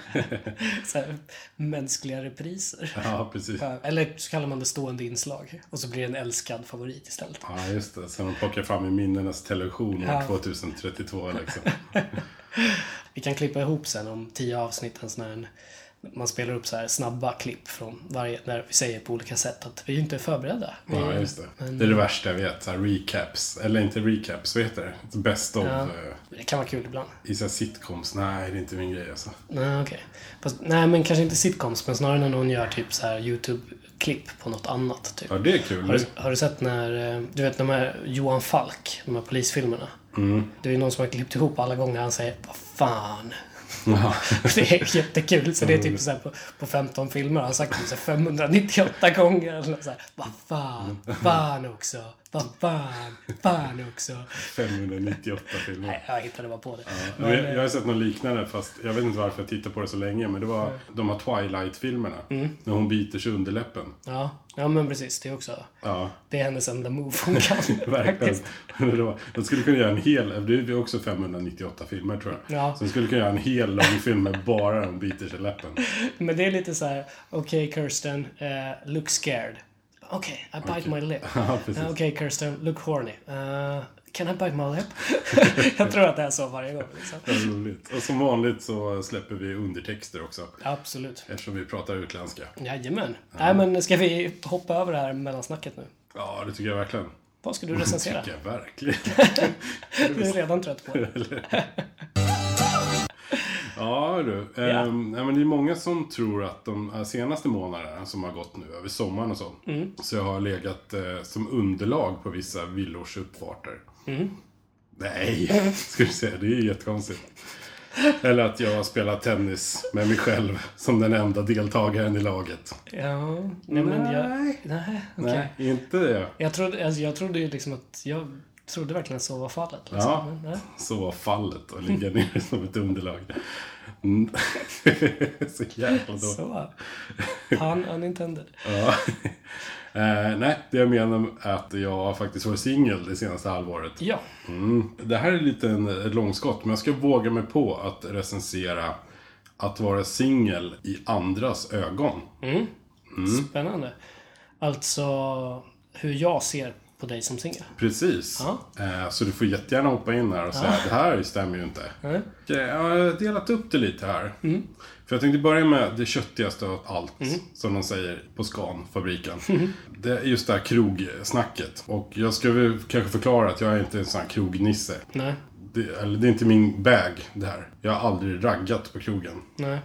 Speaker 2: Så här, mänskliga repriser.
Speaker 1: Ja, precis.
Speaker 2: Eller så kallar man det stående inslag. Och så blir det en älskad favorit istället.
Speaker 1: Ja, just det. Sen de plockar fram i minnenas television år
Speaker 2: Ja.
Speaker 1: 2032 liksom.
Speaker 2: Vi kan klippa ihop sen om tio avsnitt en sån här, en- man spelar upp så här snabba klipp från varje, när vi säger på olika sätt att vi inte är förberedda. Vi,
Speaker 1: Ja, just det. Det är det värsta jag vet. Så här recaps. Eller inte recaps, vad heter det? Best of. eh,
Speaker 2: det kan vara kul ibland.
Speaker 1: I så här sitcoms. Nej, det är inte min grej alltså.
Speaker 2: Nej, okej. Fast, nej, men kanske inte sitcoms, men snarare när någon gör typ så här YouTube-klipp på något annat. Typ.
Speaker 1: Ja, det är kul.
Speaker 2: Har, du, har du sett när, eh, du vet de här Johan Falk, de här polisfilmerna?
Speaker 1: Mm.
Speaker 2: Det är ju någon som har klippt ihop alla gånger han säger Vad fan.
Speaker 1: Ja.
Speaker 2: Det är jättekul. Så det är typ så här på, på 15 filmer har han sagt det så här 598 gånger. Eller något så här, Vad fan, fan också, vad fan, fan också.
Speaker 1: 598 filmer.
Speaker 2: Nej, jag hittade bara på det.
Speaker 1: Men eh, jag, jag har sett något liknande fast jag vet inte varför jag tittar på det så länge. Men det var de här Twilight-filmerna. När hon biter sig under läppen.
Speaker 2: Ja, ja, men precis. Det är också,
Speaker 1: Ja,
Speaker 2: det är hennes enda move hon kan.
Speaker 1: verkligen. Det var- De skulle kunna göra en hel, det är också 598 filmer tror jag.
Speaker 2: Ja.
Speaker 1: Så de skulle kunna göra en hel lång film med bara de biter sig i läppen.
Speaker 2: Men det är lite så här, okej Kirsten, eh, look scared. Okej, I bite my lip.
Speaker 1: Ja, precis.
Speaker 2: Eh, okej Kirsten, look horny. Eh, can I bite my lip? jag tror att det är så varje gång. Liksom.
Speaker 1: Det är roligt. Och som vanligt så släpper vi undertexter också.
Speaker 2: Absolut.
Speaker 1: Eftersom vi pratar utländska.
Speaker 2: Jajamän. Nej men ska vi hoppa över det här mellansnacket nu?
Speaker 1: Ja, det tycker jag verkligen.
Speaker 2: Vad ska du
Speaker 1: Det
Speaker 2: recensera?
Speaker 1: tycker jag verkligen.
Speaker 2: Du är redan trött på det.
Speaker 1: Ja du.
Speaker 2: Ja.
Speaker 1: Ehm, nej, men det är många som tror att de här senaste månaderna som har gått nu, över sommaren och så.
Speaker 2: Mm.
Speaker 1: Så jag har legat eh, som underlag på vissa villors uppfarter.
Speaker 2: Mm.
Speaker 1: Nej, ska du säga. Det är ju jättekonstigt. Eller att jag har spelat tennis med mig själv som den enda deltagaren i laget.
Speaker 2: Ja, nej men jag...
Speaker 1: Nej.
Speaker 2: Nej, okej.
Speaker 1: Nej, inte det.
Speaker 2: Jag trodde, alltså, jag trodde ju liksom att... Jag trodde verkligen att så var fallet. Liksom.
Speaker 1: Ja.
Speaker 2: Men, nej.
Speaker 1: Så var fallet och ligga nere som ett underlag. Mm. så jävla dåligt.
Speaker 2: Så. Han unintended.
Speaker 1: Ja. Eh, nej, det jag menar är att jag har faktiskt varit singel det senaste halvåret.
Speaker 2: Ja.
Speaker 1: Mm. Det här är lite en, ett långskott, men jag ska våga mig på att recensera att vara singel i andras ögon. Mm.
Speaker 2: Spännande. Alltså hur jag ser på dig som singel.
Speaker 1: Precis.
Speaker 2: Ja.
Speaker 1: Eh, Så du får jättegärna hoppa in här och säga det här stämmer ju inte.
Speaker 2: Nej. Mm.
Speaker 1: Okej, Jag har delat upp det lite här. För jag tänkte börja med det köttigaste av allt, som de säger på Scan, fabriken.
Speaker 2: Mm.
Speaker 1: Det är just det här krogsnacket. Och jag ska väl kanske förklara att jag är inte en sån här krognisse.
Speaker 2: Nej.
Speaker 1: Det, eller det är inte min bag, det här. Jag har aldrig raggat på krogen.
Speaker 2: Nej.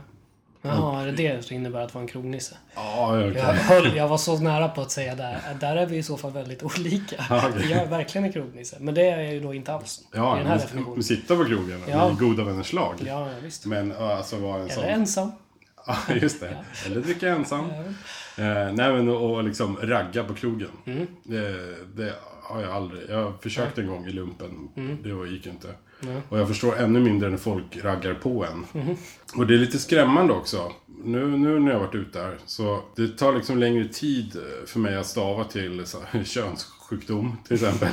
Speaker 2: Jaha, är det det som innebär att vara en krognisse?
Speaker 1: Mm. Ja, jag
Speaker 2: Jag,
Speaker 1: kan.
Speaker 2: höll, jag var så nära på att säga där. Där är vi i så fall väldigt olika.
Speaker 1: Ja, okej.
Speaker 2: Jag är verkligen en krognisse. Men det är jag ju då inte alls. I den här
Speaker 1: Ja, vi,
Speaker 2: definitionen.
Speaker 1: vi sitter på krogen
Speaker 2: Ja.
Speaker 1: i goda vänners lag.
Speaker 2: Ja, ja, visst.
Speaker 1: Men ja, alltså vara en sån...
Speaker 2: Eller ensam.
Speaker 1: Ja, just det. Eller dricka ensam. Eh, nej, men och, och liksom ragga på krogen. Det, det har jag aldrig. Jag försökte en gång i lumpen. Det gick inte. Och jag förstår ännu mindre när folk raggar på en. Och det är lite skrämmande också. Nu, nu när jag har varit ute där, så det tar liksom längre tid för mig att stava till så, här, könssjukdom till exempel.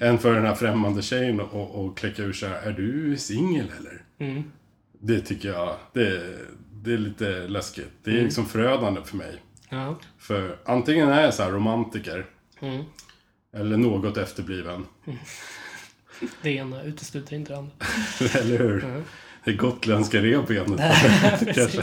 Speaker 1: än för den här främmande tjejen och, och kläcka ur så här, är du singel eller? Det tycker jag, det, det är lite läskigt. Det är
Speaker 2: Mm.
Speaker 1: liksom förödande för mig.
Speaker 2: Ja.
Speaker 1: För antingen är jag så här romantiker,
Speaker 2: Mm.
Speaker 1: eller något efterbliven.
Speaker 2: Det ena utesluter inte det andra.
Speaker 1: eller hur?
Speaker 2: Mm.
Speaker 1: Det gotländska revbenet. kanske.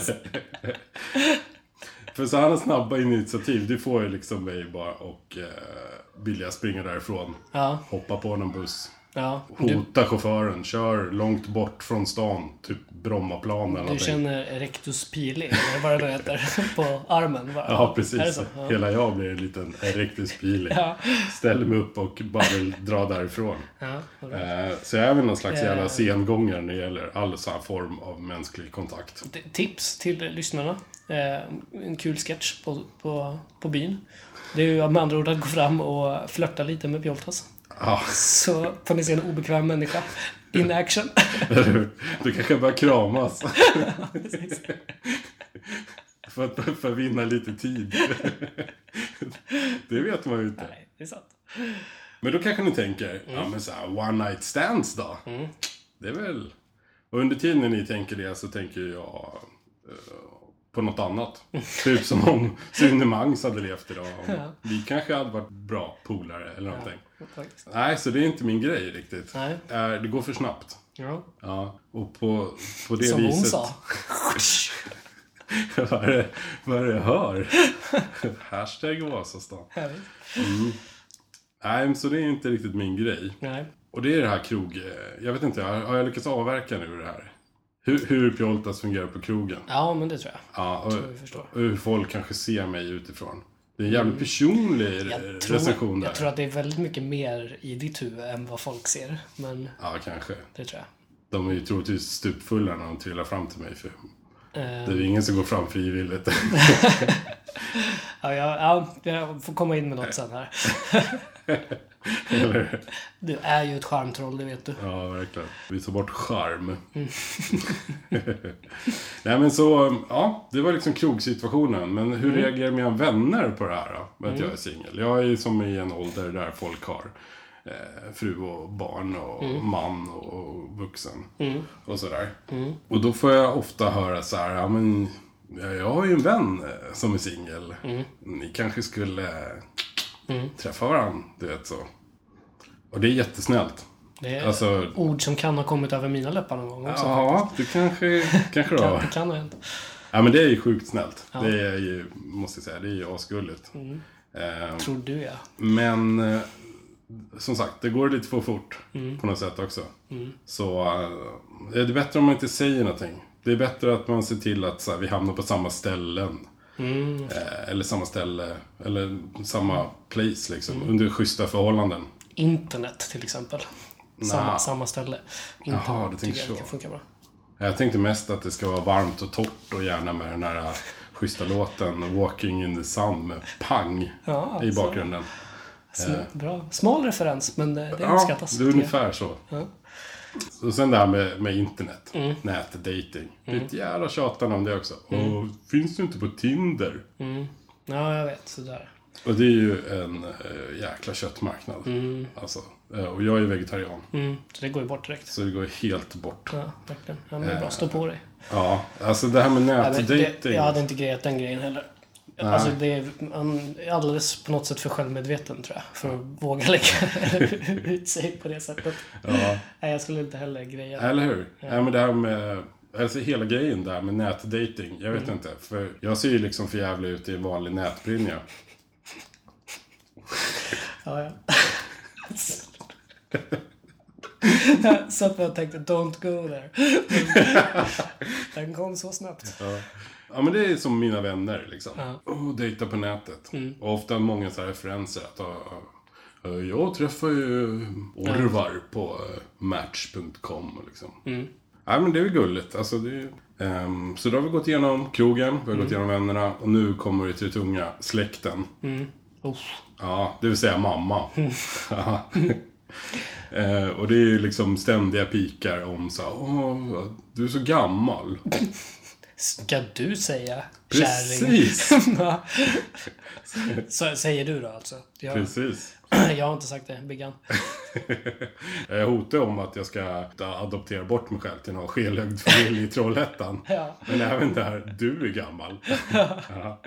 Speaker 1: För så här snabba initiativ, det får ju liksom mig bara och eh, vilja springa därifrån.
Speaker 2: Ja,
Speaker 1: Hoppa på någon buss.
Speaker 2: ja. Du,
Speaker 1: Hota chauffören, kör långt bort från stan. Typ Brommaplan eller
Speaker 2: du
Speaker 1: någonting.
Speaker 2: känner erectus pili, eller vad det nu heter, på armen. Bara.
Speaker 1: Ja,
Speaker 2: Är det
Speaker 1: precis.
Speaker 2: så? Ja.
Speaker 1: Hela jag blir en liten erectus pili.
Speaker 2: Ja.
Speaker 1: Ställer mig upp och bara vill dra därifrån.
Speaker 2: Ja, vad bra.
Speaker 1: Eh, Så jag är väl någon slags
Speaker 2: Eh.
Speaker 1: jävla sengångare när det gäller all sån här form av mänsklig kontakt.
Speaker 2: T- Tips till eh, lyssnarna. Eh, en kul sketch på, på, på byn. Det är ju med andra ord att gå fram och flörta lite med Pjoltas.
Speaker 1: Ja,
Speaker 2: Så får ni se en obekväm människa in action.
Speaker 1: eller hur? Du kanske börjar kramas. för att för att vinna lite tid. det vet man ju inte.
Speaker 2: Nej, det är sant.
Speaker 1: Men då kanske ni tänker,
Speaker 2: Mm.
Speaker 1: ja men så här, one night stands då? Det är väl... Och under tiden när ni tänker det så tänker jag eh, på något annat. typ som om Sune Mangs hade levt idag.
Speaker 2: Ja.
Speaker 1: Vi kanske hade varit bra polare eller någonting.
Speaker 2: Faktiskt.
Speaker 1: Nej, så det är inte min grej riktigt.
Speaker 2: Nej.
Speaker 1: Eh, Det går för snabbt.
Speaker 2: Ja.
Speaker 1: Ja, och på, på det
Speaker 2: Som
Speaker 1: viset...
Speaker 2: hon sa.
Speaker 1: vad, är det, vad är det jag hör? Hashtag Vasastan.
Speaker 2: Jag vet.
Speaker 1: Nej, men så det är inte riktigt min grej.
Speaker 2: Nej.
Speaker 1: Och det är det här krog... eh, Jag vet inte, har har jag lyckats avverka nu det här? Hur, hur Pjoltas fungerar på krogen.
Speaker 2: Ja, men det tror jag.
Speaker 1: Ja, och,
Speaker 2: jag förstår.
Speaker 1: och hur folk kanske ser mig utifrån. Det är en jävligt personlig
Speaker 2: Mm. Jag
Speaker 1: Eh, recension
Speaker 2: tror,
Speaker 1: där.
Speaker 2: jag tror att det är väldigt mycket mer i ditt huvud än vad folk ser. Men
Speaker 1: Ja, kanske.
Speaker 2: det tror jag.
Speaker 1: De är ju troligtvis stupfulla när de trillar fram till mig. För
Speaker 2: Eh,
Speaker 1: det är ju ingen som går fram frivilligt.
Speaker 2: Ja, jag, ja, jag får komma in med något sen här.
Speaker 1: Eller?
Speaker 2: Du är ju ett charmtroll, det vet du.
Speaker 1: Ja, verkligen. Vi tar bort charm. Nej, men så... Ja, det var liksom krogsituationen. Men hur reagerar mina vänner på det här då? Med att jag är singel. Jag är ju som i en ålder där folk har eh, fru och barn och man och, och vuxen. Och sådär. Och då får jag ofta höra så här, ja men... ja, Jag har ju en vän eh, som är singel. Ni kanske skulle träffa varandra, du vet så. Och det är jättesnällt.
Speaker 2: Det är
Speaker 1: Alltså,
Speaker 2: ord som kan ha kommit över mina läppar någon gång också.
Speaker 1: Ja, du kanske, kanske
Speaker 2: Kan,
Speaker 1: då.
Speaker 2: det kan ha hänt.
Speaker 1: Ja, men det är ju sjukt snällt. Det är ju, måste jag säga, det är ju asgulligt. Eh,
Speaker 2: Tror du ja.
Speaker 1: men eh, som sagt, det går lite för fort på något sätt också. Så eh, det är bättre om man inte säger någonting. Det är bättre att man ser till att så här, vi hamnar på samma ställen. Eh, eller samma ställe, eller samma place liksom. Under schyssta förhållanden.
Speaker 2: Internet till exempel. Samma, samma ställe. Internet
Speaker 1: Jaha, du tänker
Speaker 2: tycker jag
Speaker 1: så.
Speaker 2: kan funka bra.
Speaker 1: Jag tänkte mest att det ska vara varmt och torrt och gärna med den här schyssta låten Walking in the Sun med pang
Speaker 2: Ja,
Speaker 1: i
Speaker 2: så.
Speaker 1: bakgrunden.
Speaker 2: Sm- bra. Smal referens, men eh, det
Speaker 1: Ja,
Speaker 2: uppskattas.
Speaker 1: det är
Speaker 2: tycker jag.
Speaker 1: ungefär så. Och sen det här med, med internet,
Speaker 2: Mm.
Speaker 1: nätdating. Det är ett jävla tjatande om det också. Och,
Speaker 2: Mm.
Speaker 1: finns du inte på Tinder?
Speaker 2: Ja, jag vet. Sådär.
Speaker 1: Och det är ju en eh, jäkla köttmarknad. Alltså, eh, och jag är vegetarian,
Speaker 2: Mm, så det går ju bort direkt.
Speaker 1: så det går helt bort.
Speaker 2: Ja, verkligen.
Speaker 1: Eh.
Speaker 2: Ja, men det är bra. Stå på dig.
Speaker 1: Ja, alltså det här med
Speaker 2: Ja, men det,
Speaker 1: nätdating.
Speaker 2: jag hade inte grejat den grejen heller. Alltså det är man är alldeles på något sätt för självmedveten tror jag. För att våga lägga ut sig på det sättet.
Speaker 1: Ja.
Speaker 2: Nej, jag skulle inte heller greja det.
Speaker 1: Eller hur? Ja. men det här med... Alltså hela grejen där med nätdating. Jag vet inte. För jag ser ju liksom för jävla ut i en vanlig nätbrynja.
Speaker 2: Ja, ja. Så att jag tänkte don't go there. Den kom så snabbt.
Speaker 1: Ja. ja, men det är som mina vänner liksom. Och dejta på nätet. Och ofta många så här referenser. Att, ja, ja, jag träffar ju Orvar på eh, Match.com liksom. Ja, men det är väl gulligt. Alltså, det är... ehm, så då har vi gått igenom krogen, vi har gått igenom vännerna och nu kommer vi till det tunga, släkten.
Speaker 2: Oh.
Speaker 1: Ja, det vill säga mamma. Ja. Eh, och det är ju liksom ständiga pikar om så här, Åh, du är så gammal.
Speaker 2: Ska du säga kärring?
Speaker 1: Precis!
Speaker 2: Ja. så säger du då alltså? Jag,
Speaker 1: Precis.
Speaker 2: jag har inte sagt det, Biggan.
Speaker 1: Jag hotar Eh, om att jag ska adoptera bort mig själv till någon skelögd familj i Trollhättan.
Speaker 2: Ja.
Speaker 1: Men även där, du är gammal. Ja.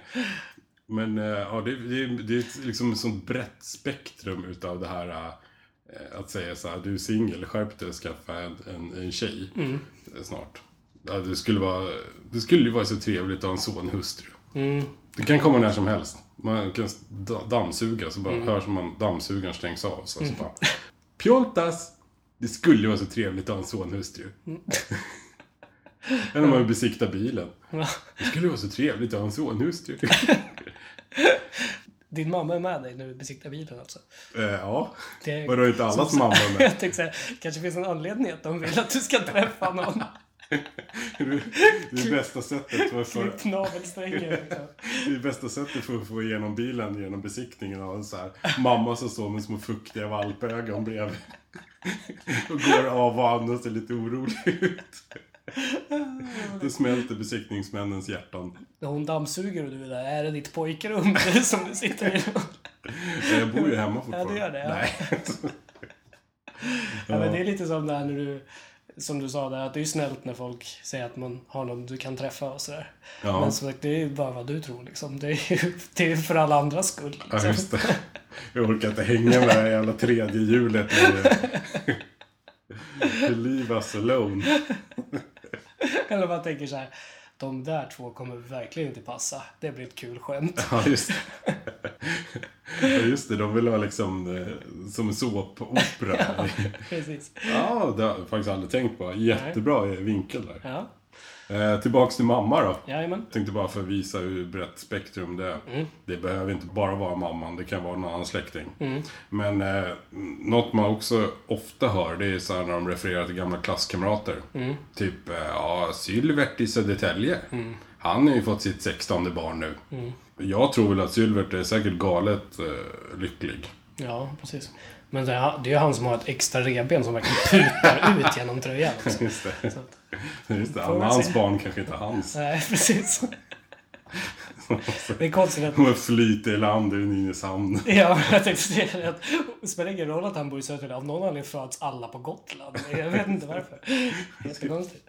Speaker 1: Men eh, ja, det, det, det är liksom ett sånt brett spektrum utav det här eh, att säga så här, du är singel, skärp dig och skaffa en, en, en tjej eh, snart. Ja, det, skulle vara, det skulle ju vara så trevligt att ha en son hustru. Det kan komma när som helst. Man kan da- dammsuga, så bara hörs man dammsugaren stängs av. Så, så bara, Pjoltas! Det skulle vara så trevligt att ha en sonhustru. Eller om man vill besikta bilen. Det skulle vara så trevligt att ha en sonhustru.
Speaker 2: Din mamma är med dig när du besiktar bilen alltså?
Speaker 1: Eh, ja.
Speaker 2: Det-
Speaker 1: Vadå, är inte allas
Speaker 2: som-
Speaker 1: mamma med?
Speaker 2: Jag tänkte säga, kanske finns en anledning att de vill att du ska träffa någon.
Speaker 1: Det är bästa sättet för, för,
Speaker 2: Klipp navelsträngen. Typ liksom.
Speaker 1: det är bästa sättet för att få igenom bilen genom besiktningen av en så här mamma som står med små fuktiga valpögon bredvid. Och går av och an och ser lite orolig ut. Då smälter besiktningsmännens hjärtan.
Speaker 2: När hon dammsuger och du är där, är det ditt pojkrum som du sitter i? då?
Speaker 1: Eh, Jag bor ju hemma fortfarande.
Speaker 2: Ja, det gör det, ja.
Speaker 1: Nej.
Speaker 2: Ja, men det är lite som där när du, som du sa där, att det är ju snällt när folk säger att man har någon du kan träffa och sådär.
Speaker 1: Ja.
Speaker 2: Men som sagt, det är ju bara vad du tror liksom. Det är ju det är för alla andras skull.
Speaker 1: Ja,
Speaker 2: liksom.
Speaker 1: just det. Jag orkar inte hänga med det här jävla tredje hjulet längre. Leave us alone.
Speaker 2: Eller man tänker så här, de där två kommer verkligen inte passa. Det blir ett kul skämt.
Speaker 1: Ja, just det. Ja, just det. De vill ha liksom eh, som en såpopera.
Speaker 2: Precis.
Speaker 1: Ja, det har jag faktiskt aldrig tänkt på. Jättebra vinkel där.
Speaker 2: Ja,
Speaker 1: Eh, tillbaks till mamma då.
Speaker 2: jajamän.
Speaker 1: Jag tänkte bara för att visa hur brett spektrum det är. Det behöver inte bara vara mamman, det kan vara någon annan släkting. Men eh, något man också ofta hör, det är så här när de refererar till gamla klasskamrater. Typ, eh, ja, Sylvert i Södertälje. Han har ju fått sitt 16 barn nu. Jag tror väl att Sylvert är säkert galet eh, lycklig.
Speaker 2: Ja, precis. Men det är det är ju han som har ett extra revben som verkligen putar ut genom tröjan. Också.
Speaker 1: Just det.
Speaker 2: Så att,
Speaker 1: Just det.
Speaker 2: man
Speaker 1: Hans
Speaker 2: se.
Speaker 1: barn kanske inte är hans.
Speaker 2: nej, precis. Det är konstigt att...
Speaker 1: De flyter i land i Nynäshamn.
Speaker 2: Ja, jag tänkte säga att det spelar ingen roll att han bor i Södertälje. Av någon anledning föds alla på Gotland. Jag vet inte varför. Jättekonstigt.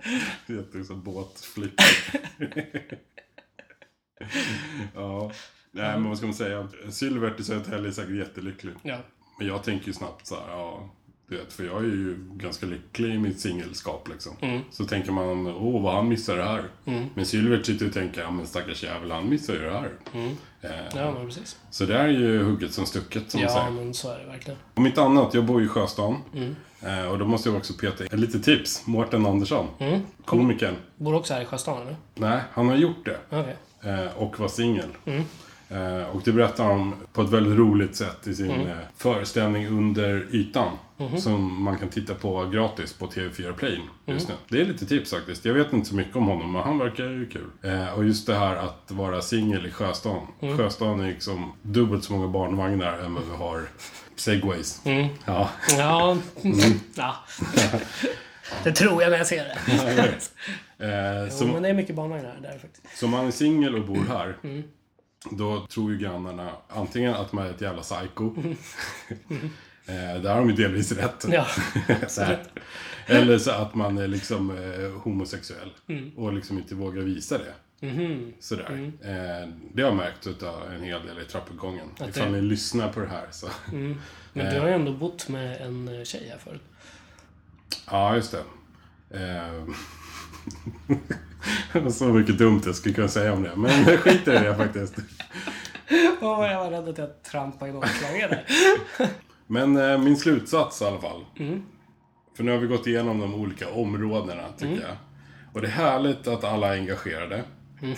Speaker 1: Jätte båtflickor. ja. Nej, men vad ska man säga? Silvert i Södertälje är säkert jättelycklig.
Speaker 2: Ja.
Speaker 1: Men jag tänker ju snabbt så här, ja. Du vet, för jag är ju ganska lycklig i mitt singelskap liksom. Så tänker man, åh vad han missar det här. Men Silvert sitter och tänker, ja men stackars jävel, han missar ju det här. Eh,
Speaker 2: ja, men precis.
Speaker 1: Så det är ju hugget som stucket som man
Speaker 2: Ja,
Speaker 1: säger.
Speaker 2: men så är det verkligen.
Speaker 1: Om inte annat, jag bor ju i Sjöstaden. Eh, och då måste jag också peta in lite tips. Mårten Andersson. Komikern.
Speaker 2: Bor också här i Sjöstaden, eller?
Speaker 1: Nej, han har gjort det.
Speaker 2: Okej.
Speaker 1: Eh, och var singel. Eh, och det berättar han på ett väldigt roligt sätt i sin eh, föreställning Under ytan. Som man kan titta på gratis på TV4 Play just nu. Det är lite tips faktiskt. Jag vet inte så mycket om honom, men han verkar ju kul. Eh, och just det här att vara singel i Sjöstaden. Sjöstaden är liksom dubbelt så många barnvagnar än vad vi har segways. Ja.
Speaker 2: Ja. ja. Det tror jag när jag ser det.
Speaker 1: Eh,
Speaker 2: Jo,
Speaker 1: som,
Speaker 2: men det är mycket barnvagnar här, där faktiskt.
Speaker 1: Så om man är singel och
Speaker 2: Mm.
Speaker 1: bor här, då tror ju grannarna antingen att man är ett jävla psycho. Eh, Där har de ju delvis rätt.
Speaker 2: Mm. Ja,
Speaker 1: Så här.
Speaker 2: Mm.
Speaker 1: Eller så att man är liksom eh, homosexuell och liksom inte vågar visa det.
Speaker 2: Mm-hmm.
Speaker 1: Sådär. Eh, det har jag märkt utav en hel del i trappuppgången.
Speaker 2: Att
Speaker 1: Ifall
Speaker 2: det- Mm.
Speaker 1: ni lyssnar på det här så. Eh.
Speaker 2: Men du har ju ändå bott med en eh, tjej här förut.
Speaker 1: Ja, just det. Eh, så mycket dumt jag skulle kunna säga om det. Men jag skiter i det faktiskt.
Speaker 2: Åh, jag var rädd att jag trampade igång klanger där.
Speaker 1: Men eh, min slutsats i alla fall. För nu har vi gått igenom de olika områdena, tycker jag. Och det är härligt att alla är engagerade.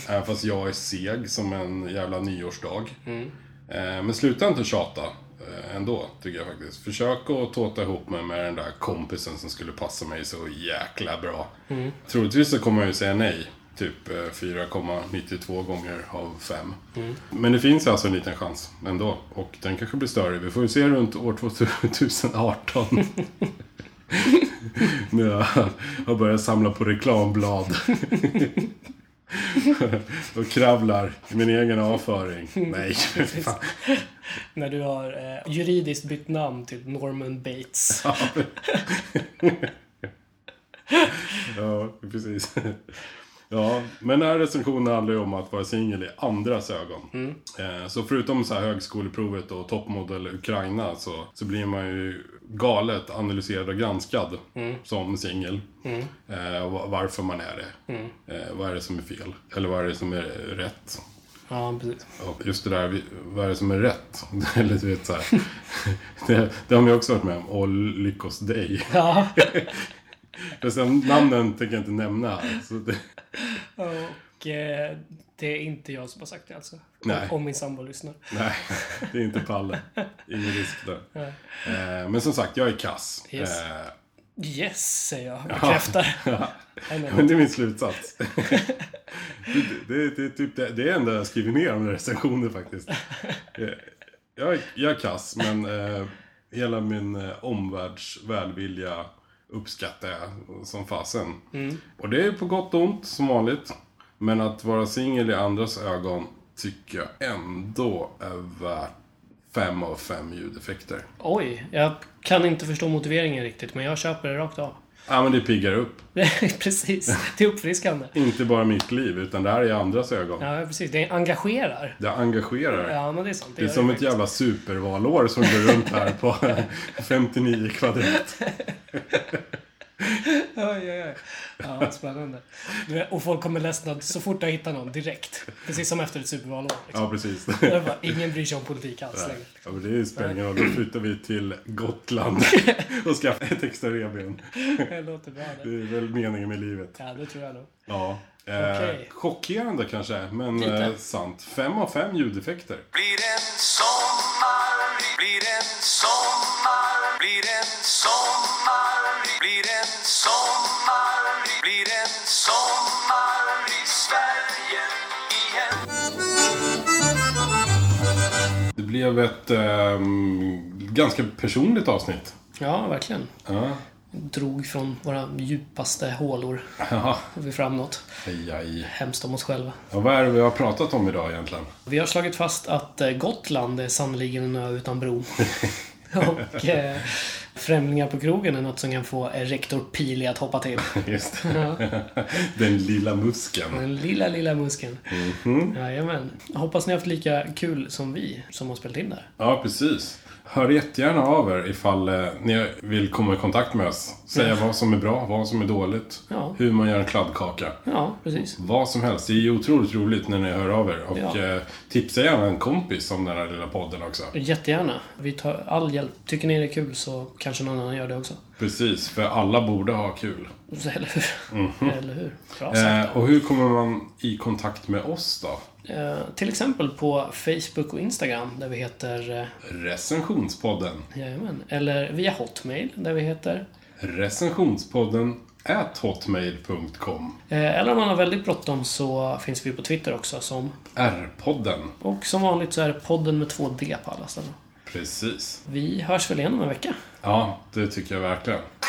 Speaker 1: Även fast jag är seg som en jävla nyårsdag. Eh, men sluta inte tjata eh, ändå, tycker jag faktiskt. Försök att tåta ihop mig med den där kompisen som skulle passa mig så jäkla bra. Troligtvis så kommer jag ju säga nej. Typ eh, 4,92 gånger av 5. Men det finns alltså en liten chans ändå. Och den kanske blir större. Vi får ju se runt år 2018. När jag har börjat samla på reklamblad. och kravlar i min egen avföring. Nej, fan.
Speaker 2: När du har eh, juridiskt bytt namn till Norman Bates.
Speaker 1: Ja, precis. Ja, men den här recensionen handlar ju om att vara singel i andras ögon. Eh, Så förutom så här högskoleprovet och toppmodell Ukraina så, så blir man ju galet analyserad och granskad som singel. Eh, och va- varför man är det. Eh, vad är det som är fel? Eller vad är det som är rätt?
Speaker 2: Ja, precis.
Speaker 1: Och just det där, vi- vad är det som är rätt? Eller du vet så här. det, det har man ju också varit med om. Och lyckos dig.
Speaker 2: Ja.
Speaker 1: Men sen namnen tänker jag inte nämna här. Så det,
Speaker 2: Och eh, det är inte jag som har sagt det alltså.
Speaker 1: Nej.
Speaker 2: Om min sambo lyssnar.
Speaker 1: Nej, det är inte Palle. Ingen risk där. Eh, men som sagt, jag är kass.
Speaker 2: Yes.
Speaker 1: Eh,
Speaker 2: Yes, säger jag. Bekräftar. Nej, men-
Speaker 1: men det är min slutsats. det, det, det, är typ det, det är det enda jag skriver ner om recensioner faktiskt. Eh, jag, är- jag är kass, men eh, hela min eh, omvärlds välvilja uppskattar jag som fasen.
Speaker 2: Mm.
Speaker 1: Och det är på gott och ont, som vanligt. Men att vara singel i andras ögon tycker jag ändå är värt fem av fem ljudeffekter.
Speaker 2: Oj, jag kan inte förstå motiveringen riktigt, men jag köper det rakt av.
Speaker 1: Ja, men det piggar upp.
Speaker 2: precis, det är uppfriskande.
Speaker 1: Inte bara mitt liv, utan det här är andras ögon.
Speaker 2: Ja, precis. Det engagerar.
Speaker 1: Det engagerar.
Speaker 2: Ja, men det är sant.
Speaker 1: Det är
Speaker 2: gör
Speaker 1: som ett
Speaker 2: faktiskt.
Speaker 1: jävla supervalår som går runt här på 59 kvadrat.
Speaker 2: Oj, oj, oj. Ja, spännande. Du vet, Och folk kommer ledsna så fort jag hittar någon direkt. Precis som efter ett supervalår. Liksom.
Speaker 1: Ja, precis.
Speaker 2: Det var, ingen bryr sig om politik alls längre.
Speaker 1: Ja, men det spelar ingen roll. Då flyttar vi till Gotland och skaffar ett extra revben.
Speaker 2: Det låter bra det.
Speaker 1: Det är väl meningen med livet.
Speaker 2: Ja, det tror jag nog.
Speaker 1: Ja. Eh,
Speaker 2: Okej.
Speaker 1: Chockerande kanske, men
Speaker 2: Lite.
Speaker 1: eh, sant. Fem av fem ljudeffekter.
Speaker 4: Blir en sommar, blir en sommar, blir en sommar, blir en sommar, blir en sommar i Sverige igen.
Speaker 1: Det blev ett ehm, ganska personligt avsnitt.
Speaker 2: Ja, verkligen.
Speaker 1: Ja.
Speaker 2: Drog från våra djupaste hålor.
Speaker 1: Ja,
Speaker 2: Får vi fram något
Speaker 1: aj, aj.
Speaker 2: hemskt om oss själva.
Speaker 1: Ja, vad är det vi har pratat om idag egentligen?
Speaker 2: Vi har slagit fast att eh, Gotland är sannerligen en ö utan bro. Och eh, Främlingar på krogen är något som kan få eh, rektor Pili att hoppa till.
Speaker 1: Just Den lilla muskeln.
Speaker 2: Den lilla, lilla muskeln. Mhm. Jajamän. Hoppas ni har haft lika kul som vi som har spelat in där.
Speaker 1: Ja, precis. Hör jättegärna av er ifall eh, ni vill komma i kontakt med oss. Säga vad som är bra, vad som är dåligt,
Speaker 2: Ja.
Speaker 1: hur man gör en kladdkaka.
Speaker 2: Ja, precis.
Speaker 1: Vad som helst. Det är ju otroligt roligt när ni hör av er. Och
Speaker 2: Ja.
Speaker 1: eh, tipsa gärna en kompis om den här lilla podden också.
Speaker 2: Jättegärna. Vi tar all hjälp. Tycker ni det är kul så kanske någon annan gör det också.
Speaker 1: Precis, för alla borde ha kul.
Speaker 2: Så, Eller hur? Eller hur? Bra sagt.
Speaker 1: Eh, och hur kommer man i kontakt med oss då?
Speaker 2: Eh, till exempel på Facebook och Instagram där vi heter... Eh,
Speaker 1: Recensionspodden.
Speaker 2: jajamän. Eller via Hotmail där vi heter...
Speaker 1: Recensionspodden at hotmail.com.
Speaker 2: Eh, Eller om man har väldigt bråttom så finns vi på Twitter också. Som,
Speaker 1: R-podden.
Speaker 2: och som vanligt så är det podden med två D på alla ställen.
Speaker 1: Precis.
Speaker 2: Vi hörs väl igen om en vecka.
Speaker 1: Ja, det tycker jag verkligen.